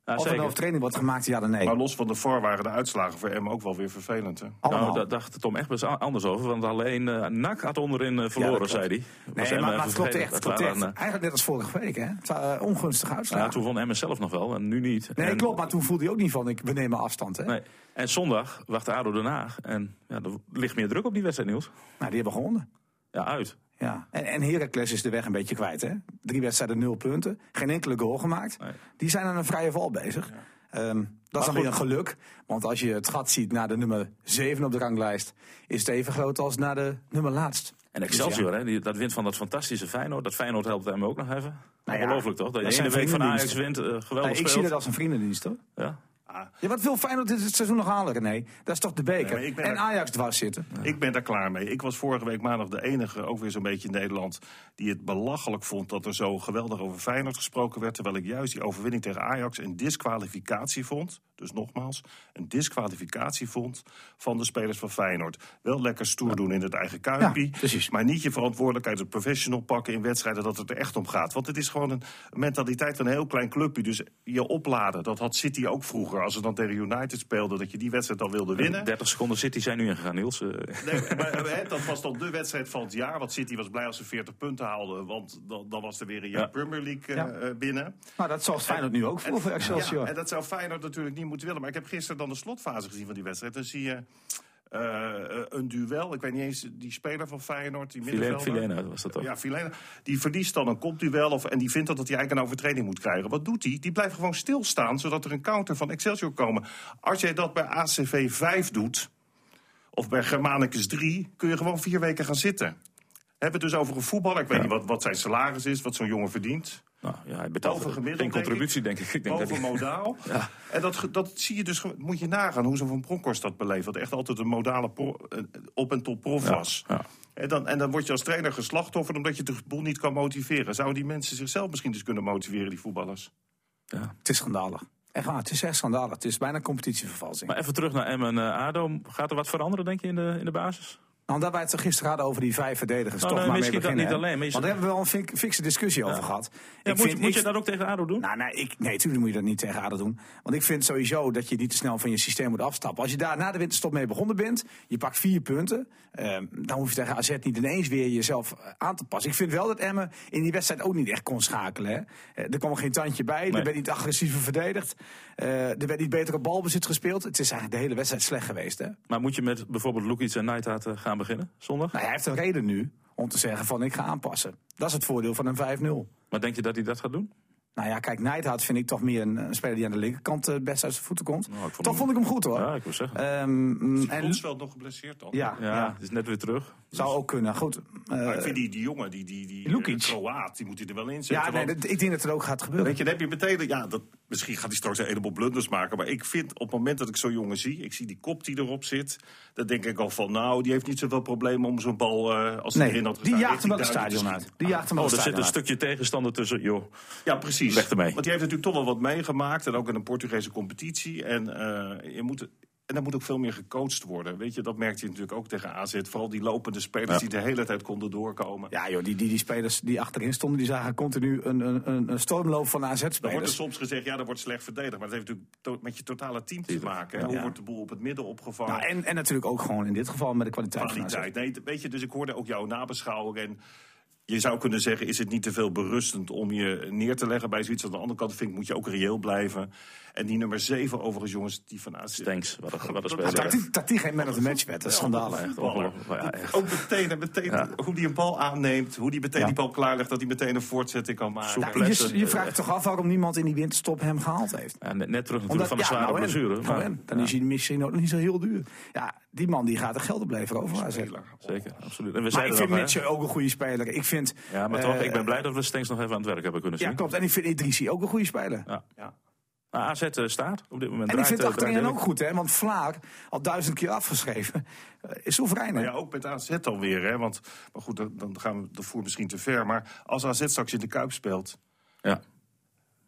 Speaker 2: Ja,
Speaker 4: of nou er een
Speaker 2: zeker.
Speaker 4: overtreding wordt gemaakt, ja dan nee.
Speaker 3: Maar los van de VAR waren de uitslagen voor Emmen ook wel weer vervelend. Hè?
Speaker 4: Allemaal.
Speaker 2: Nou, daar dacht Tom echt best a- anders over. Want alleen eh NAC had onderin eh,
Speaker 4: Ja,
Speaker 2: verloren,
Speaker 4: dat
Speaker 2: zei
Speaker 4: klopt.
Speaker 2: hij. Was
Speaker 4: Nee,
Speaker 2: Emmen
Speaker 4: maar,
Speaker 2: even
Speaker 4: maar het klopt
Speaker 2: vergeten.
Speaker 4: echt. Het
Speaker 2: Dat
Speaker 4: klopt echt.
Speaker 2: waren, eh,
Speaker 4: Eigenlijk net als vorige week, hè? Het waren, eh, ongunstige
Speaker 2: nou ja,
Speaker 4: uitslagen.
Speaker 2: toen won Emmen zelf nog wel en nu niet.
Speaker 4: Nee,
Speaker 2: en,
Speaker 4: klopt, maar toen voelde hij ook niet van, ik, we nemen afstand, hè?
Speaker 2: Nee. En zondag wacht ADO Den Haag. En ja, er ligt meer druk op die wedstrijd, Niels.
Speaker 4: Nou, die hebben gewonnen.
Speaker 2: Ja, uit.
Speaker 4: Ja. En, en Heracles is de weg een beetje kwijt, hè? Drie wedstrijden, nul punten. Geen enkele goal gemaakt.
Speaker 2: Nee.
Speaker 4: Die zijn aan een vrije val bezig. Ehm, dat is dan
Speaker 2: goed.
Speaker 4: weer een geluk. Want als je het gat ziet naar de nummer 7 op de ranglijst... is het even groot als naar de nummer laatst.
Speaker 2: En
Speaker 4: Dus
Speaker 2: Excelsior, hè, die, dat wint van dat fantastische Feyenoord. Dat Feyenoord helpt hem ook nog even.
Speaker 4: Nou ja,
Speaker 2: Ongelooflijk toch? Dat
Speaker 4: dat
Speaker 2: je
Speaker 4: zijn
Speaker 2: de week van Ajax
Speaker 4: vriendendiensten.
Speaker 2: wint, eh,
Speaker 4: ja.
Speaker 2: geweldig
Speaker 4: Nee, Nou, ik zie
Speaker 2: speelt.
Speaker 4: dat als een vriendendienst, hoor.
Speaker 2: Ja.
Speaker 4: Ja, wat wil Feyenoord dit seizoen nog halen, René? Dat is toch de beker?
Speaker 3: Nee, maar ik ben
Speaker 4: en
Speaker 3: er-
Speaker 4: Ajax dwars zitten.
Speaker 3: Ik ben daar klaar mee. Ik was vorige week maandag de enige, ook weer zo'n beetje in Nederland, die het belachelijk vond dat er zo geweldig over Feyenoord gesproken werd. Terwijl ik juist die overwinning tegen Ajax een disqualificatie vond. Dus nogmaals, een disqualificatie vond van de spelers van Feyenoord. Wel lekker stoer doen in het eigen kuipje.
Speaker 4: Ja, precies.
Speaker 3: maar niet je verantwoordelijkheid als professional pakken in wedstrijden dat het er echt om gaat. Want het is gewoon een mentaliteit van een heel klein clubje. Dus je opladen, dat had City ook vroeger. Als ze dan tegen United speelden, dat je die wedstrijd dan wilde winnen.
Speaker 2: 30 seconden City zijn nu ingegaan, Niels. Eh,
Speaker 3: Nee, maar, eh, hè, dat was dan de wedstrijd van het jaar. Want City was blij als ze 40 punten haalden. Want dan, dan was er weer een jaar
Speaker 2: Ja.
Speaker 3: Premier League eh,
Speaker 4: Ja.
Speaker 3: eh, binnen.
Speaker 4: Nou, dat zorgt Feyenoord nu ook voor, voor Excelsior.
Speaker 3: Ja, en dat zou Feyenoord natuurlijk niet moeten willen. Maar ik heb gisteren dan de slotfase gezien van die wedstrijd. Dan zie je eh, eh, een duel. Ik weet niet eens, die speler van Feyenoord, die
Speaker 2: Filena
Speaker 3: middenvelder.
Speaker 2: Filena was dat toch?
Speaker 3: Ja, Filena. Die verliest dan een kopduel of, en die vindt dat, dat hij eigenlijk een overtreding moet krijgen. Wat doet hij? Die blijft gewoon stilstaan, zodat er een counter van Excelsior komen. Als jij dat bij ACV 5 doet, of bij Germanicus 3, kun je gewoon vier weken gaan zitten. We hebben het dus over een voetballer. Ik weet niet wat, wat zijn salaris is, wat zo'n jongen verdient.
Speaker 2: Nou, ja, hij betaalt
Speaker 3: Boven gemiddeld,
Speaker 2: geen
Speaker 3: denk ik.
Speaker 2: contributie, denk ik. ik denk dat
Speaker 3: Boven
Speaker 2: hij- [LAUGHS]
Speaker 3: modaal. En dat, ge- dat zie je dus, ge- moet je nagaan hoe zo'n Van Bronckhorst dat beleeft. Dat echt altijd een modale pro- eh, op- en top prof was.
Speaker 2: ja.
Speaker 3: En, dan, en dan word je als trainer geslachtoffer omdat je de boel niet kan motiveren. Zouden die mensen zichzelf misschien dus kunnen motiveren, die voetballers?
Speaker 2: ja.
Speaker 4: Het is schandalig. Echt waar, het is echt schandalig. Het is bijna competitievervalsing.
Speaker 2: Maar even terug naar Emmen en eh, ADO. Gaat er wat veranderen, denk je, in de, in de basis?
Speaker 4: Nou, daar wij het gisteren hadden over die vijf verdedigers.
Speaker 2: Nou,
Speaker 4: toch
Speaker 2: nee,
Speaker 4: maar mee
Speaker 2: misschien dat
Speaker 4: beginnen,
Speaker 2: niet
Speaker 4: hè?
Speaker 2: alleen, maar je
Speaker 4: Want daar hebben we wel een fik- fikse discussie over gehad.
Speaker 2: Ja,
Speaker 4: Ik
Speaker 2: moet
Speaker 4: vind-
Speaker 2: moet
Speaker 4: ik-
Speaker 2: je dat ook tegen ADO doen?
Speaker 4: Nou, nee, ik, nee, natuurlijk moet je dat niet tegen ADO doen. Want ik vind sowieso dat je niet te snel van je systeem moet afstappen. Als je daar na de winterstop mee begonnen bent, je pakt vier punten. ehm, dan hoef je tegen AZ niet ineens weer jezelf eh, aan te passen. Ik vind wel dat Emmen in die wedstrijd ook niet echt kon schakelen. Hè. Eh, Er kwam geen tandje bij, er
Speaker 2: Nee.
Speaker 4: werd niet agressiever verdedigd. eh, er werd niet beter op balbezit gespeeld. Het is eigenlijk de hele wedstrijd slecht geweest. Hè.
Speaker 2: Maar moet je met bijvoorbeeld Lukic en Neidhaat eh, gaan beginnen zondag?
Speaker 4: Nou, hij heeft een reden nu om te zeggen van ik ga aanpassen. Dat is het voordeel van een 5-0.
Speaker 2: Maar denk je dat hij dat gaat doen?
Speaker 4: Nou ja, kijk, Neidhout vind ik toch meer een, eh, speler die aan de linkerkant eh, het best uit zijn voeten komt.
Speaker 2: Nou, ik vond
Speaker 4: toch
Speaker 2: hem-
Speaker 4: vond ik hem goed hoor.
Speaker 2: Ja, ik wil zeggen.
Speaker 4: Ehm, mm,
Speaker 3: En
Speaker 4: en,
Speaker 3: Lonsveld nog geblesseerd dan?
Speaker 4: ja,
Speaker 2: Ja,
Speaker 4: ja,
Speaker 2: het is net weer terug.
Speaker 4: zou ook kunnen. Goed. eh,
Speaker 3: Maar ik vind die, die jongen, die, die, die
Speaker 4: Lukic.
Speaker 3: eh, Kroaat, die moet hij er wel in zetten.
Speaker 4: ja, nee,
Speaker 3: want-
Speaker 4: dat- ik denk dat het ook gaat gebeuren.
Speaker 3: Weet je, dan heb je meteen... Ja, dat, misschien gaat hij straks een heleboel blunders maken. Maar ik vind op het moment dat ik zo'n jongen zie... ik zie die kop die erop zit... dan denk ik al van... nou, die heeft niet zoveel problemen om zo'n bal... eh, als hij
Speaker 4: nee,
Speaker 3: erin had
Speaker 4: die
Speaker 3: gestaan,
Speaker 4: jaagt hem wel het
Speaker 3: 19.000 te
Speaker 4: stadion uit.
Speaker 3: schieten.
Speaker 4: Die jaagt hem wel
Speaker 2: Oh,
Speaker 4: het
Speaker 2: er zit
Speaker 4: stadion
Speaker 2: een
Speaker 4: uit.
Speaker 2: stukje tegenstander tussen. Joh,
Speaker 3: Ja, precies.
Speaker 2: Weg ermee.
Speaker 3: Want die heeft natuurlijk toch wel wat meegemaakt. En ook in een Portugese competitie. En, eh je moet, en daar moet ook veel meer gecoacht worden. Weet je, dat merkte je natuurlijk ook tegen AZ. Vooral die lopende spelers die de hele tijd konden doorkomen.
Speaker 4: Ja joh, die, die, die spelers die achterin stonden, die zagen continu een, een, een, een stormloop van
Speaker 3: Dan wordt er
Speaker 4: AZ-spelers.
Speaker 3: soms gezegd, ja, dat wordt slecht verdedigd. Maar dat heeft natuurlijk to- met je totale team te maken. hè.
Speaker 4: Ja.
Speaker 3: Hoe wordt de boel op het midden opgevangen?
Speaker 4: Nou, en, en natuurlijk ook gewoon in dit geval met de kwaliteit van AZ.
Speaker 3: kwaliteit. Nee, t- weet je, dus ik hoorde ook jouw nabeschouwing. En je zou kunnen zeggen, is het niet te veel berustend om je neer te leggen bij zoiets? Aan de andere kant vind ik, moet je ook reëel blijven. En die nummer 7 overigens, jongens, die van AZ.
Speaker 2: Thanks. Wat een, wat een
Speaker 4: Nou,
Speaker 2: speler.
Speaker 4: tactiek- Tactiek geen man of the match werd, dat is schandalig.
Speaker 2: echt
Speaker 3: voetballer.
Speaker 2: ongelooflijk. Ja, echt.
Speaker 3: Ook meteen, en meteen hoe die een bal aanneemt, hoe die meteen
Speaker 4: Ja.
Speaker 3: die bal klaarlegt, dat hij meteen een voortzetting kan maken.
Speaker 2: Soepel.
Speaker 4: Nou, je,
Speaker 2: Plessen.
Speaker 4: je vraagt toch af waarom niemand in die winterstop hem gehaald heeft.
Speaker 2: Ja, net, net terug natuurlijk van de
Speaker 4: ja,
Speaker 2: zware
Speaker 4: nou en,
Speaker 2: blessure.
Speaker 4: nou
Speaker 2: maar-
Speaker 4: en, dan
Speaker 2: ja,
Speaker 4: is hij misschien ook nog niet zo heel duur. Ja, die man die gaat er geld op blijven over. AZ.
Speaker 2: Zeker, absoluut. En we
Speaker 4: Maar
Speaker 2: zeiden
Speaker 4: ik vind
Speaker 2: dat, hè.
Speaker 4: Mitchell ook een goede speler. Ik vind,
Speaker 2: Ja, maar toch,
Speaker 4: eh,
Speaker 2: ik ben blij dat we Stenks nog even aan het werk hebben kunnen zien.
Speaker 4: Ja, klopt. En ik vind Idrissi ook een goede speler.
Speaker 2: Ja.
Speaker 3: Ja.
Speaker 2: Nou, AZ eh, staat op dit moment.
Speaker 4: En ik
Speaker 2: Draait,
Speaker 4: vind
Speaker 2: eh,
Speaker 4: het achterin
Speaker 2: draait
Speaker 4: ook goed, hè? Want Vlaar, al duizend keer afgeschreven, [LAUGHS] eh, is soeverein. hè?
Speaker 3: Maar ja, ook met AZ alweer. Hè? Want, maar goed, dan, dan gaan we de voer misschien te ver. Maar als AZ straks in de Kuip speelt,
Speaker 2: Ja.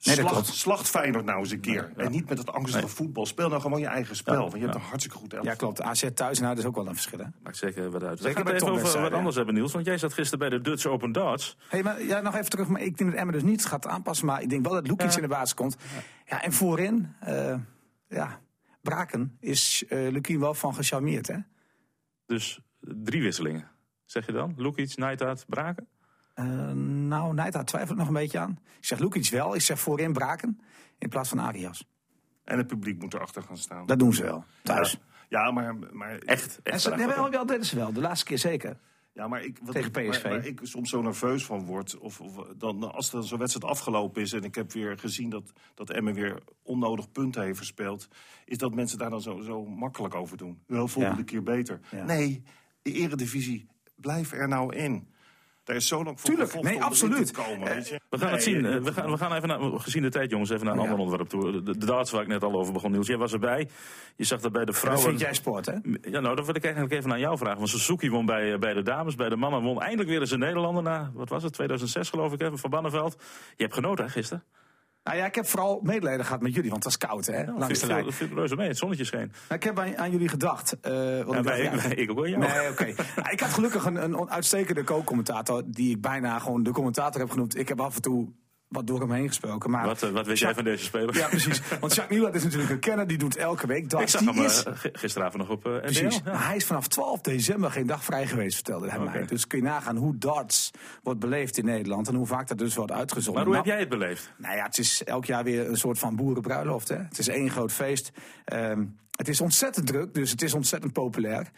Speaker 4: Nee, dat
Speaker 3: slacht,
Speaker 4: klopt.
Speaker 3: slacht Feyenoord nou eens een keer. En niet met dat angstige voetbal. Speel nou gewoon je eigen spel.
Speaker 2: Ja,
Speaker 3: want je hebt
Speaker 2: ja.
Speaker 3: een hartstikke goed elftal.
Speaker 4: Ja, klopt. AZ thuis, nou, dat is ook wel een verschil. Hè?
Speaker 2: Maakt zeker wat uit. We
Speaker 4: Zeker
Speaker 2: gaan
Speaker 4: bij
Speaker 2: het even over wat
Speaker 4: topwedstrijden,
Speaker 2: anders hebben, Niels. Want jij zat gisteren bij de Dutch Open Darts.
Speaker 4: Hey, maar ja, nog even terug. Maar ik denk dat Emmer dus niet gaat aanpassen. Maar ik denk wel dat Lukic in de baas komt. Ja, en voorin, eh, ja, Braken is eh Lukien wel van gecharmeerd, hè?
Speaker 2: Dus drie wisselingen. Zeg je dan? Lukic, Neitaert, Braken?
Speaker 4: Eh, nou, Nijt, daar twijfel ik nog een beetje aan. Ik zeg Lukic wel, ik zeg voorin Braken in plaats van Arias.
Speaker 3: En het publiek moet erachter gaan staan.
Speaker 4: Dat doen ze wel, thuis.
Speaker 3: Ja, ja, maar, maar
Speaker 2: Echt,
Speaker 4: En
Speaker 2: echt.
Speaker 4: ze, nee,
Speaker 2: prachtig.
Speaker 4: wel, wel, dat is wel, de laatste keer zeker.
Speaker 3: Ja, maar ik, wat,
Speaker 4: Tegen
Speaker 3: maar-
Speaker 4: PSV.
Speaker 3: Waar, ik soms zo nerveus van word, of, of dan, als dan zo'n wedstrijd afgelopen is... en ik heb weer gezien dat, dat Emmen weer onnodig punten heeft verspeeld... is dat mensen daar dan zo, zo makkelijk over doen. Wel volgende
Speaker 4: Ja.
Speaker 3: keer beter.
Speaker 4: Ja.
Speaker 3: Nee, de eredivisie, blijf er nou in. Daar is zo lang voor
Speaker 4: Tuurlijk,
Speaker 3: gevochten
Speaker 4: nee,
Speaker 3: om erin
Speaker 4: absoluut.
Speaker 3: te komen,
Speaker 4: Eh,
Speaker 3: weet je.
Speaker 2: We gaan het
Speaker 3: Nee,
Speaker 2: zien.
Speaker 3: eh,
Speaker 2: Eh, We gaan, we gaan even naar, gezien de tijd, jongens, even naar een
Speaker 4: Ja.
Speaker 2: ander onderwerp toe. De, de darts waar ik net al over begon, Niels. Jij was erbij. Je zag dat bij de
Speaker 4: Dat
Speaker 2: vrouwen.
Speaker 4: vind jij sport, hè?
Speaker 2: Ja, nou, dat wil ik eigenlijk even aan jou vragen. Want Suzuki won bij, eh, bij de dames, bij de mannen won eindelijk weer eens een Nederlander na, wat was het, 2006 geloof ik, hè, van Banneveld. Je hebt genoten, hè, gisteren?
Speaker 4: Nou ja, ik heb vooral medelijden gehad met jullie, want het was koud, hè?
Speaker 2: Ja,
Speaker 4: langs de
Speaker 2: viel-
Speaker 4: lijn.
Speaker 2: viel- viel reuze mee, het zonnetje scheen.
Speaker 4: Nou, ik heb aan, aan jullie gedacht. eh, want
Speaker 2: Ja,
Speaker 4: ik dacht,
Speaker 2: wij,
Speaker 4: ja,
Speaker 2: wij- ik ook wel jou.
Speaker 4: Nee,
Speaker 2: [LAUGHS]
Speaker 4: oké. Nou, ik had gelukkig een, een on- uitstekende co-commentator. die ik bijna gewoon de commentator heb genoemd. Ik heb af en toe wat door hem heen gesproken. Maar
Speaker 2: Wat, eh, wat wist jij van deze speler?
Speaker 4: Ja, precies. Want Jacques Nieuwland is natuurlijk een kenner. die doet elke week dat.
Speaker 2: ik zag
Speaker 4: die
Speaker 2: hem eh,
Speaker 4: is-
Speaker 2: g- gisteravond nog op eh NPO.
Speaker 4: Precies.
Speaker 2: Ja.
Speaker 4: Maar hij is vanaf 12 december geen dag vrij geweest, vertelde hij
Speaker 2: Oké.
Speaker 4: mij. Dus kun je nagaan hoe darts wordt beleefd in Nederland. en hoe vaak dat dus wordt uitgezonden.
Speaker 2: Maar hoe heb
Speaker 4: Nou,
Speaker 2: jij het beleefd?
Speaker 4: nou ja, het is elk jaar weer een soort van boerenbruiloft. Hè? Het is één groot feest. Ehm, het is ontzettend druk, dus het is ontzettend populair.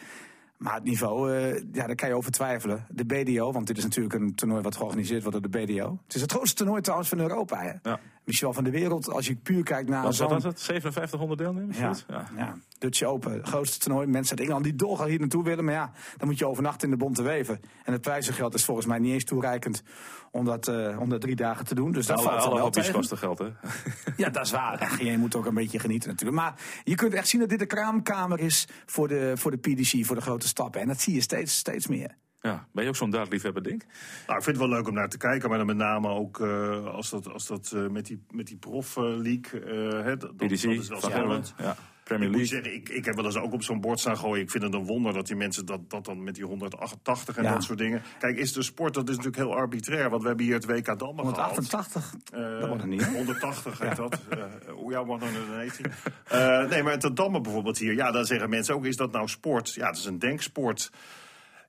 Speaker 4: Maar het niveau, eh, ja, daar kan je over twijfelen. De BDO, want dit is natuurlijk een toernooi wat georganiseerd wordt door de BDO. Het is het grootste toernooi trouwens van Europa. Hè?
Speaker 2: Ja.
Speaker 4: Misschien wel van de wereld, als je puur kijkt naar...
Speaker 2: Wat
Speaker 4: zo'n-
Speaker 2: was het? 5700 deelnemers?
Speaker 4: ja,
Speaker 2: zoiets?
Speaker 4: ja. Dutch Open, het grootste toernooi. Mensen uit Engeland die dolgraag hier naartoe willen. Maar ja, dan moet je overnachten in de Bonte Weven. En het prijzengeld is volgens mij niet eens toereikend om dat, eh, om dat drie dagen te doen. Dus dat
Speaker 2: Alle,
Speaker 4: valt dan
Speaker 2: alle
Speaker 4: wel
Speaker 2: hobby's
Speaker 4: tegen.
Speaker 2: kosten geld, hè? [LAUGHS]
Speaker 4: Ja, dat is waar. Ach, je moet ook een beetje genieten natuurlijk. Maar je kunt echt zien dat dit de kraamkamer is voor de, voor de PDC, voor de grote stappen. En dat zie je steeds, steeds meer.
Speaker 2: Ja, ben je ook zo'n dartliefhebber, Dink?
Speaker 3: Nou, ik vind het wel leuk om naar te kijken, maar dan met name ook eh, als dat, als dat eh, met die, met die prof-league. eh, hè, dat, dat
Speaker 2: PDC,
Speaker 3: is wel
Speaker 2: Van Gelder,
Speaker 3: spannend.
Speaker 2: ja,
Speaker 3: Ik
Speaker 2: Premier
Speaker 3: moet
Speaker 2: League.
Speaker 3: zeggen, ik, ik heb wel eens ook op zo'n bord staan gooien. Ik vind het een wonder dat die mensen dat, dat dan met die 188 en
Speaker 4: Ja.
Speaker 3: dat soort dingen. Kijk, is de sport, dat is natuurlijk heel arbitrair. Want we hebben hier het WK Dammen gehad.
Speaker 4: 188,
Speaker 3: Eh,
Speaker 4: dat wordt het niet. hè?
Speaker 3: 180 heet dat. Eh, Hoe jouw man dan een heet hij. Eh, Nee, maar te dammen bijvoorbeeld hier. Ja, dan zeggen mensen ook, is dat nou sport? Ja, het is een denksport.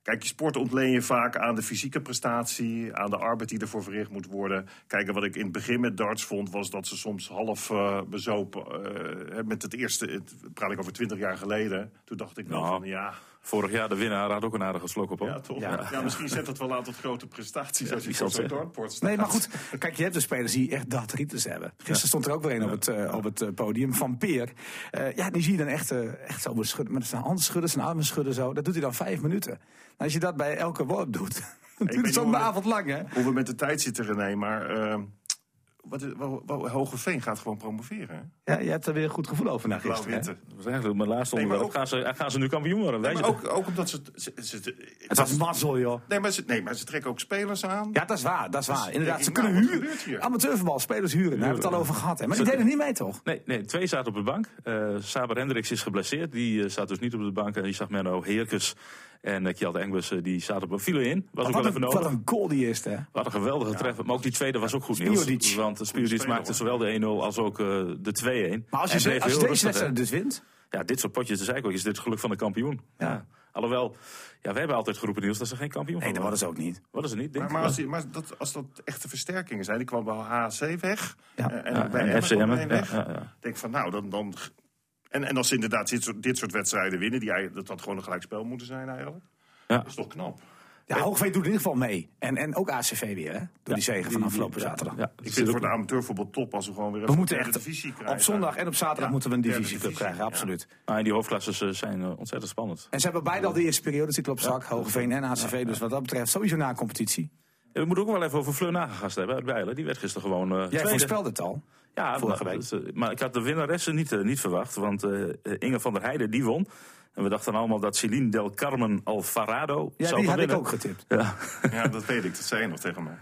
Speaker 3: Kijk, je sport ontleen je vaak aan de fysieke prestatie, aan de arbeid die ervoor verricht moet worden. Kijk, wat ik in het begin met darts vond, was dat ze soms half eh, bezopen. eh, hè, met het eerste, het, praat ik over 20 jaar geleden. Toen dacht ik wel
Speaker 2: Nou.
Speaker 3: van ja,
Speaker 2: Vorig jaar de winnaar had ook een aardige slok op. hoor.
Speaker 3: ja toch?
Speaker 4: Ja.
Speaker 3: Ja. misschien zet dat wel aan tot grote prestaties als je
Speaker 2: wie zal
Speaker 3: voor zo'n
Speaker 2: het zeggen?
Speaker 3: dartbord staat.
Speaker 4: Nee, maar goed. Kijk, je hebt dus spelers die echt dartritis hebben. Gisteren stond er ook weer een op het, eh, op het eh, podium van Peer. Eh, ja, die zie je dan echt, eh, echt zo schudden. Met zijn handen schudden, zijn armen schudden zo. Dat doet hij dan vijf minuten. En als je dat bij elke worp doet, [LAUGHS] dan
Speaker 3: weet
Speaker 4: duurt het
Speaker 3: niet
Speaker 4: zo'n
Speaker 3: hoe we-
Speaker 4: avond lang, hè?
Speaker 3: hoe we met de tijd zitten, René. Maar eh, wat, is- wa- wa- Hogeveen gaat gewoon promoveren. hè?
Speaker 4: Ja, je hebt er weer een goed gevoel over na
Speaker 3: Blauw
Speaker 4: gisteren. hè?
Speaker 3: winter.
Speaker 2: Dat was eigenlijk mijn laatste
Speaker 3: Nee, maar
Speaker 2: onderwerp. gaan, ze, gaan ze nu kampioen worden? Wij
Speaker 3: Maar
Speaker 2: zitten-
Speaker 3: ook, ook omdat ze, ze, ze- ze-
Speaker 4: Het was mazzel, joh.
Speaker 3: nee, maar ze. Nee, maar ze trekken ook spelers aan.
Speaker 4: Ja, dat is waar, dat is waar. Inderdaad, ze
Speaker 3: nou,
Speaker 4: kunnen
Speaker 3: wat
Speaker 4: huren.
Speaker 3: gebeurt hier?
Speaker 4: Amateurvoetbal, spelers huren, daar hebben we het al over gehad. Hè. Maar die
Speaker 2: Ze-
Speaker 4: deden niet mee, toch?
Speaker 2: Nee, nee, twee zaten op de bank. Eh, Saber Hendricks is geblesseerd. Die eh, staat dus niet op de bank. En je zag Menno Heerkes en eh, Kjeld Engbers. eh, die zaten op file in. Was ook wel
Speaker 4: Wat een,
Speaker 2: even
Speaker 4: wat
Speaker 2: nodig.
Speaker 4: een goal die is, hè?
Speaker 2: Wat een geweldige treffer. Maar ook die tweede was ook goed
Speaker 4: Spirovic.
Speaker 2: nieuws. Want eh, Spirovic
Speaker 3: speler,
Speaker 2: maakte zowel de 1-0 als ook eh, de 2-1.
Speaker 4: Maar als je,
Speaker 2: En
Speaker 4: ze,
Speaker 2: bleef
Speaker 4: als je
Speaker 2: heel
Speaker 4: deze
Speaker 2: rustig, hè.
Speaker 4: wedstrijd dus wint...
Speaker 2: Ja, dit soort potjes, de zijkoek, is dit het geluk van de kampioen. Ja. Alhoewel, ja, we hebben altijd geroepen nieuws dat ze geen kampioen
Speaker 4: Nee, dat
Speaker 2: worden.
Speaker 4: was ze ook niet.
Speaker 2: Wat is het niet? Denk
Speaker 3: Maar, maar, als, die- maar dat, als dat echte versterkingen zijn, die kwam bij HC weg.
Speaker 4: Ja.
Speaker 3: eh, En,
Speaker 2: Ja,
Speaker 3: bij
Speaker 2: en
Speaker 3: Emmen
Speaker 2: FC
Speaker 3: kwam er
Speaker 2: Emmen,
Speaker 3: een
Speaker 2: ja,
Speaker 3: weg.
Speaker 2: ja, ja.
Speaker 3: Ik Denk van, nou, dan. dan en, en als ze inderdaad dit soort, dit soort wedstrijden winnen, die, eigenlijk- dat had gewoon een gelijkspel moeten zijn eigenlijk.
Speaker 2: Ja.
Speaker 3: Dat is toch knap.
Speaker 4: Ja, Hoogveen doet in ieder geval mee. En, en ook ACV weer, hè? Door die zegen van afgelopen zaterdag.
Speaker 2: Ja,
Speaker 3: Ik vind het voor de amateurvoetbal top als we gewoon weer
Speaker 4: We
Speaker 3: even
Speaker 4: moeten
Speaker 3: een
Speaker 4: echt
Speaker 3: divisie krijgen.
Speaker 4: op zondag en op zaterdag moeten we een
Speaker 3: derde
Speaker 4: divisieclub
Speaker 3: divisie,
Speaker 4: krijgen,
Speaker 3: ja.
Speaker 4: absoluut.
Speaker 2: Ah, en die hoofdklassen zijn eh, ontzettend spannend.
Speaker 4: En ze hebben beide al de eerste periode, die op zak, Hogeveen en ACV. Dus wat dat betreft sowieso na competitie.
Speaker 2: Ja, Eh, we moeten ook wel even over Fleur nagegast hebben uit Bijlen. Die werd gisteren gewoon eh
Speaker 4: Jij
Speaker 2: tweede.
Speaker 4: voorspelde het al.
Speaker 2: ja,
Speaker 4: vorige
Speaker 2: maar,
Speaker 4: week.
Speaker 2: dat, eh, maar ik had de winnaressen niet, eh, niet verwacht. Want eh, eh, Inge van der Heijden, die won. En we dachten allemaal dat Celine del Carmen Alvarado
Speaker 4: Ja,
Speaker 2: zou
Speaker 4: die
Speaker 2: gaan
Speaker 4: had ik
Speaker 2: winnen.
Speaker 4: ook getipt.
Speaker 2: Ja. [LAUGHS]
Speaker 3: Ja, dat weet ik. Dat zei je nog tegen mij.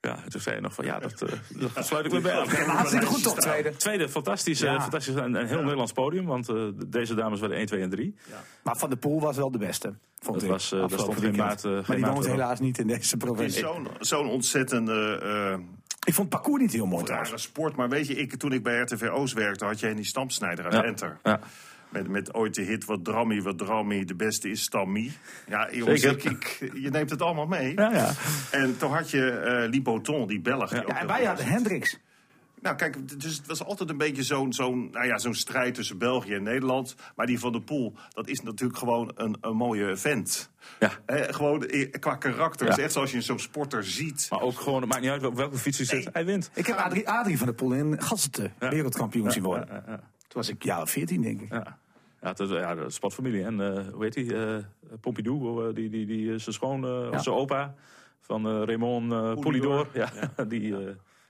Speaker 2: Ja, toen zei je nog van ja, dat,
Speaker 4: [LAUGHS]
Speaker 2: eh, dat sluit ik me bij aan.
Speaker 4: Laat zit er goed op, tweede.
Speaker 2: Tweede, fantastisch.
Speaker 4: Ja.
Speaker 2: eh, fantastisch een, een heel Nederlands podium, want eh, deze dames waren 1, 2 en 3.
Speaker 4: Maar Van der Poel was wel de beste. Vond
Speaker 2: Dat
Speaker 4: ik,
Speaker 2: was, eh, daar
Speaker 4: afgelopen
Speaker 2: stond geen maat,
Speaker 4: weekend.
Speaker 2: eh, geen
Speaker 4: maar die
Speaker 2: maat
Speaker 4: woont
Speaker 2: erop.
Speaker 4: helaas niet in deze
Speaker 3: Het is
Speaker 4: provincie.
Speaker 3: zo'n zo'n ontzettende eh,
Speaker 4: Ik vond het parcours niet heel mooi trouwens.
Speaker 3: rare sport. Maar weet je, ik, toen ik bij RTV Oost werkte, had je Henny Stampsnijder uit
Speaker 2: Ja.
Speaker 3: Enter.
Speaker 2: Ja.
Speaker 3: Met, met ooit de hit Wat Drammy, Wat Drammy, de beste is Stammy. Ja, jongens, ik,
Speaker 2: Zeker.
Speaker 3: ik- je neemt het allemaal mee.
Speaker 2: Ja, ja.
Speaker 3: En toen had je eh Liboton, die Belg. die ook
Speaker 4: Ja, en
Speaker 3: heel
Speaker 4: wij
Speaker 3: goed
Speaker 4: hadden
Speaker 3: was.
Speaker 4: Hendricks.
Speaker 3: Nou kijk, d- dus het was altijd een beetje zo'n zo'n, nou ja, zo'n strijd tussen België en Nederland. Maar die van de Poel, dat is natuurlijk gewoon een, een mooie vent.
Speaker 2: Ja.
Speaker 3: Hè, gewoon eh, qua karakter.
Speaker 2: Ja.
Speaker 3: Het is echt zoals je zo'n sporter ziet.
Speaker 2: Maar ook gewoon, het maakt niet uit op welke fiets hij zit, hij wint.
Speaker 4: Ik heb Adrie, Adrie van der Poel in Gassete wereldkampioen zien worden. Toen was ik ja 14, denk ik.
Speaker 2: Ja. Ja, dat, ja, dat is sportfamilie. En eh, hoe heet die? eh Pompidou, eh, die, die, die, eh, zijn schoon, eh, of zijn opa van eh, Raymond eh Poulidor. Ja, [LAUGHS] die, eh,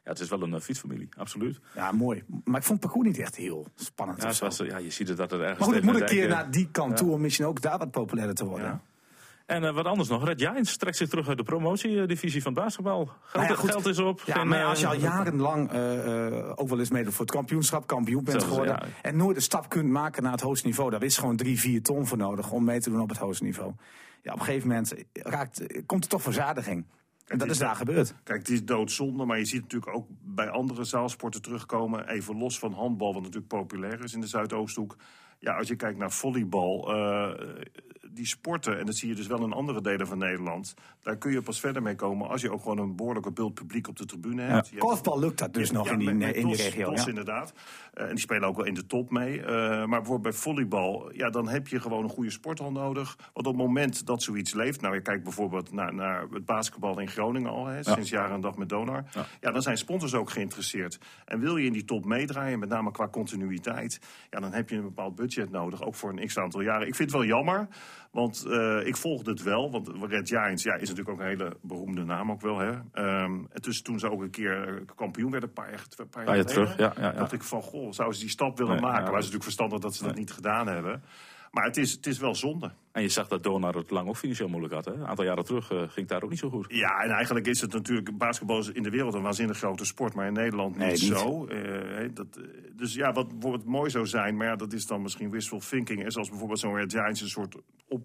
Speaker 2: ja, het is wel een eh, fietsfamilie, absoluut.
Speaker 4: Ja, mooi. Maar ik vond het parcours niet echt heel spannend.
Speaker 2: Ja,
Speaker 4: of
Speaker 2: het
Speaker 4: zo.
Speaker 2: was, eh, ja, je ziet het dat het ergens
Speaker 4: Maar goed, ik
Speaker 2: tegen
Speaker 4: moet een
Speaker 2: de
Speaker 4: keer
Speaker 2: dijk, eh,
Speaker 4: naar die kant toe om misschien ook daar wat populairder te worden.
Speaker 2: En eh, wat anders nog, Red Giants trekt zich terug uit de promotiedivisie van het basketbal. Geld,
Speaker 4: Nou ja, goed.
Speaker 2: geld is op.
Speaker 4: Ja,
Speaker 2: Geen,
Speaker 4: maar
Speaker 2: eh,
Speaker 4: als je al jarenlang eh, eh, ook wel eens mede voor het kampioenschap kampioen bent
Speaker 2: Zelfs,
Speaker 4: geworden.
Speaker 2: ja.
Speaker 4: En nooit een stap kunt maken naar het hoogste niveau. Daar is gewoon drie, vier ton voor nodig om mee te doen op het hoogste niveau. Ja, op een gegeven moment raakt, komt er toch verzadiging. En dat is daar gebeurd.
Speaker 3: Kijk, het is doodzonde, maar je ziet natuurlijk ook bij andere zaalsporten terugkomen. Even los van handbal, wat natuurlijk populair is in de Zuidoosthoek. Ja, als je kijkt naar volleybal, eh, die sporten, en dat zie je dus wel in andere delen van Nederland. Daar kun je pas verder mee komen als je ook gewoon een behoorlijke bult publiek op de tribune hebt. Je hebt-
Speaker 4: Korfbal lukt dat dus nog
Speaker 3: ja,
Speaker 4: in die,
Speaker 3: met- met
Speaker 4: in die
Speaker 3: DOS,
Speaker 4: regio.
Speaker 3: DOS
Speaker 4: ja.
Speaker 3: inderdaad. Eh, en die spelen ook wel in de top mee. Eh, maar bijvoorbeeld bij volleybal, ja, dan heb je gewoon een goede sporthal nodig. Want op het moment dat zoiets leeft, nou je kijkt bijvoorbeeld naar, naar het basketbal in Groningen al, hè, sinds jaren en dag met Donar. Ja. dan zijn sponsors ook geïnteresseerd. En wil je in die top meedraaien, met name qua continuïteit, ja, dan heb je een bepaald budget nodig, ook voor een x aantal jaren. Ik vind het wel jammer, want eh, ik volgde het wel, want Red Giants ja, is natuurlijk ook een hele beroemde naam ook wel. Hè. Ehm, en dus toen ze ook een keer eh, kampioen werden, een paar jaar, een paar
Speaker 2: Paar jaar
Speaker 3: geleden,
Speaker 2: terug, ja, ja, ja.
Speaker 3: dacht ik van, goh, zouden ze die stap willen
Speaker 2: Nee,
Speaker 3: maken?
Speaker 2: ja.
Speaker 3: Maar het is natuurlijk verstandig dat ze dat niet gedaan hebben. Maar het is, het is wel zonde.
Speaker 2: En je zag dat Donar het lang ook financieel moeilijk had. Hè? Een aantal jaren terug eh, ging het daar ook niet zo goed.
Speaker 3: Ja, en eigenlijk is het natuurlijk, basketbal is in de wereld een waanzinnig grote sport, maar in Nederland
Speaker 4: Nee,
Speaker 3: niet,
Speaker 4: niet.
Speaker 3: zo. Eh, hè, dat, eh, dus ja, wat bijvoorbeeld mooi zou zijn, maar ja, dat is dan misschien wishful thinking. En zoals bijvoorbeeld zo'n Red Giants een soort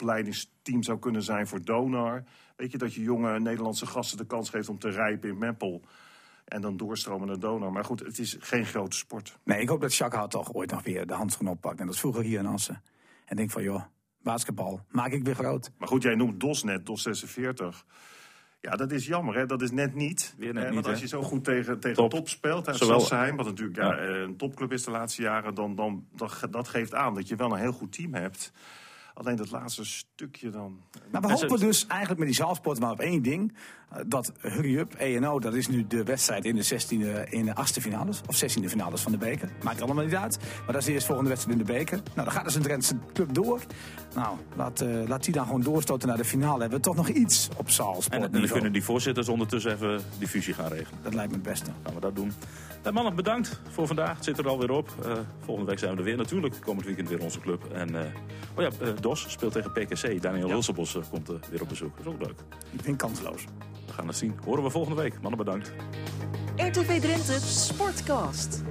Speaker 3: opleidingsteam zou kunnen zijn voor Donar. Weet je, dat je jonge Nederlandse gasten de kans geeft om te rijpen in Meppel. En dan doorstromen naar Donar. Maar goed, het is geen grote sport.
Speaker 4: Nee, ik hoop dat Jacques Hart toch ooit nog weer de handschoen oppakt. En dat is vroeger hier in Assen. En denk van, joh, basketbal, maak ik weer groot.
Speaker 3: Maar goed, jij noemt DOS net, DOS 46. Ja, dat is jammer, hè? dat is net niet.
Speaker 2: Weer net
Speaker 3: Eh, want
Speaker 2: niet,
Speaker 3: als
Speaker 2: hè?
Speaker 3: je zo goed tegen, tegen
Speaker 2: Top.
Speaker 3: top. speelt, uit
Speaker 2: Zowel-
Speaker 3: Sassheim, wat natuurlijk ja,
Speaker 2: Ja.
Speaker 3: eh, een topclub is de laatste jaren, dan, dan, dan ge- dat geeft aan dat je wel een heel goed team hebt. Alleen dat laatste stukje dan.
Speaker 4: Maar we
Speaker 2: En ze-
Speaker 4: hopen dus eigenlijk met die zaalsport maar op één ding. eh, Dat Hurry Up, ENO, dat is nu de wedstrijd in de 16e, in de 8e finales. Of 16e finales van de beker. Maakt allemaal niet uit. Maar dat is de eerstvolgende wedstrijd in de beker. Nou, dan gaat dus een Drentse club door. Nou, laat, eh, laat die dan gewoon doorstoten naar de finale. Hebben we toch nog iets op
Speaker 2: En, en dan
Speaker 4: zaalsport.
Speaker 2: kunnen die voorzitters ondertussen even die fusie gaan regelen.
Speaker 4: Dat lijkt me het beste.
Speaker 2: Gaan we dat doen. Eh, mannen, bedankt voor vandaag. Het zit er alweer op. Eh, volgende week zijn we er weer natuurlijk. Komend weekend weer onze club. En eh, oh ja, eh, DOS speelt tegen PKC. Daniel Hulsebos eh, komt eh, weer op bezoek. Dat is ook leuk.
Speaker 4: Ik vind kansloos.
Speaker 2: We gaan het zien. Horen we volgende week. Mannen, bedankt.
Speaker 1: RTV Drenthe Sportcast.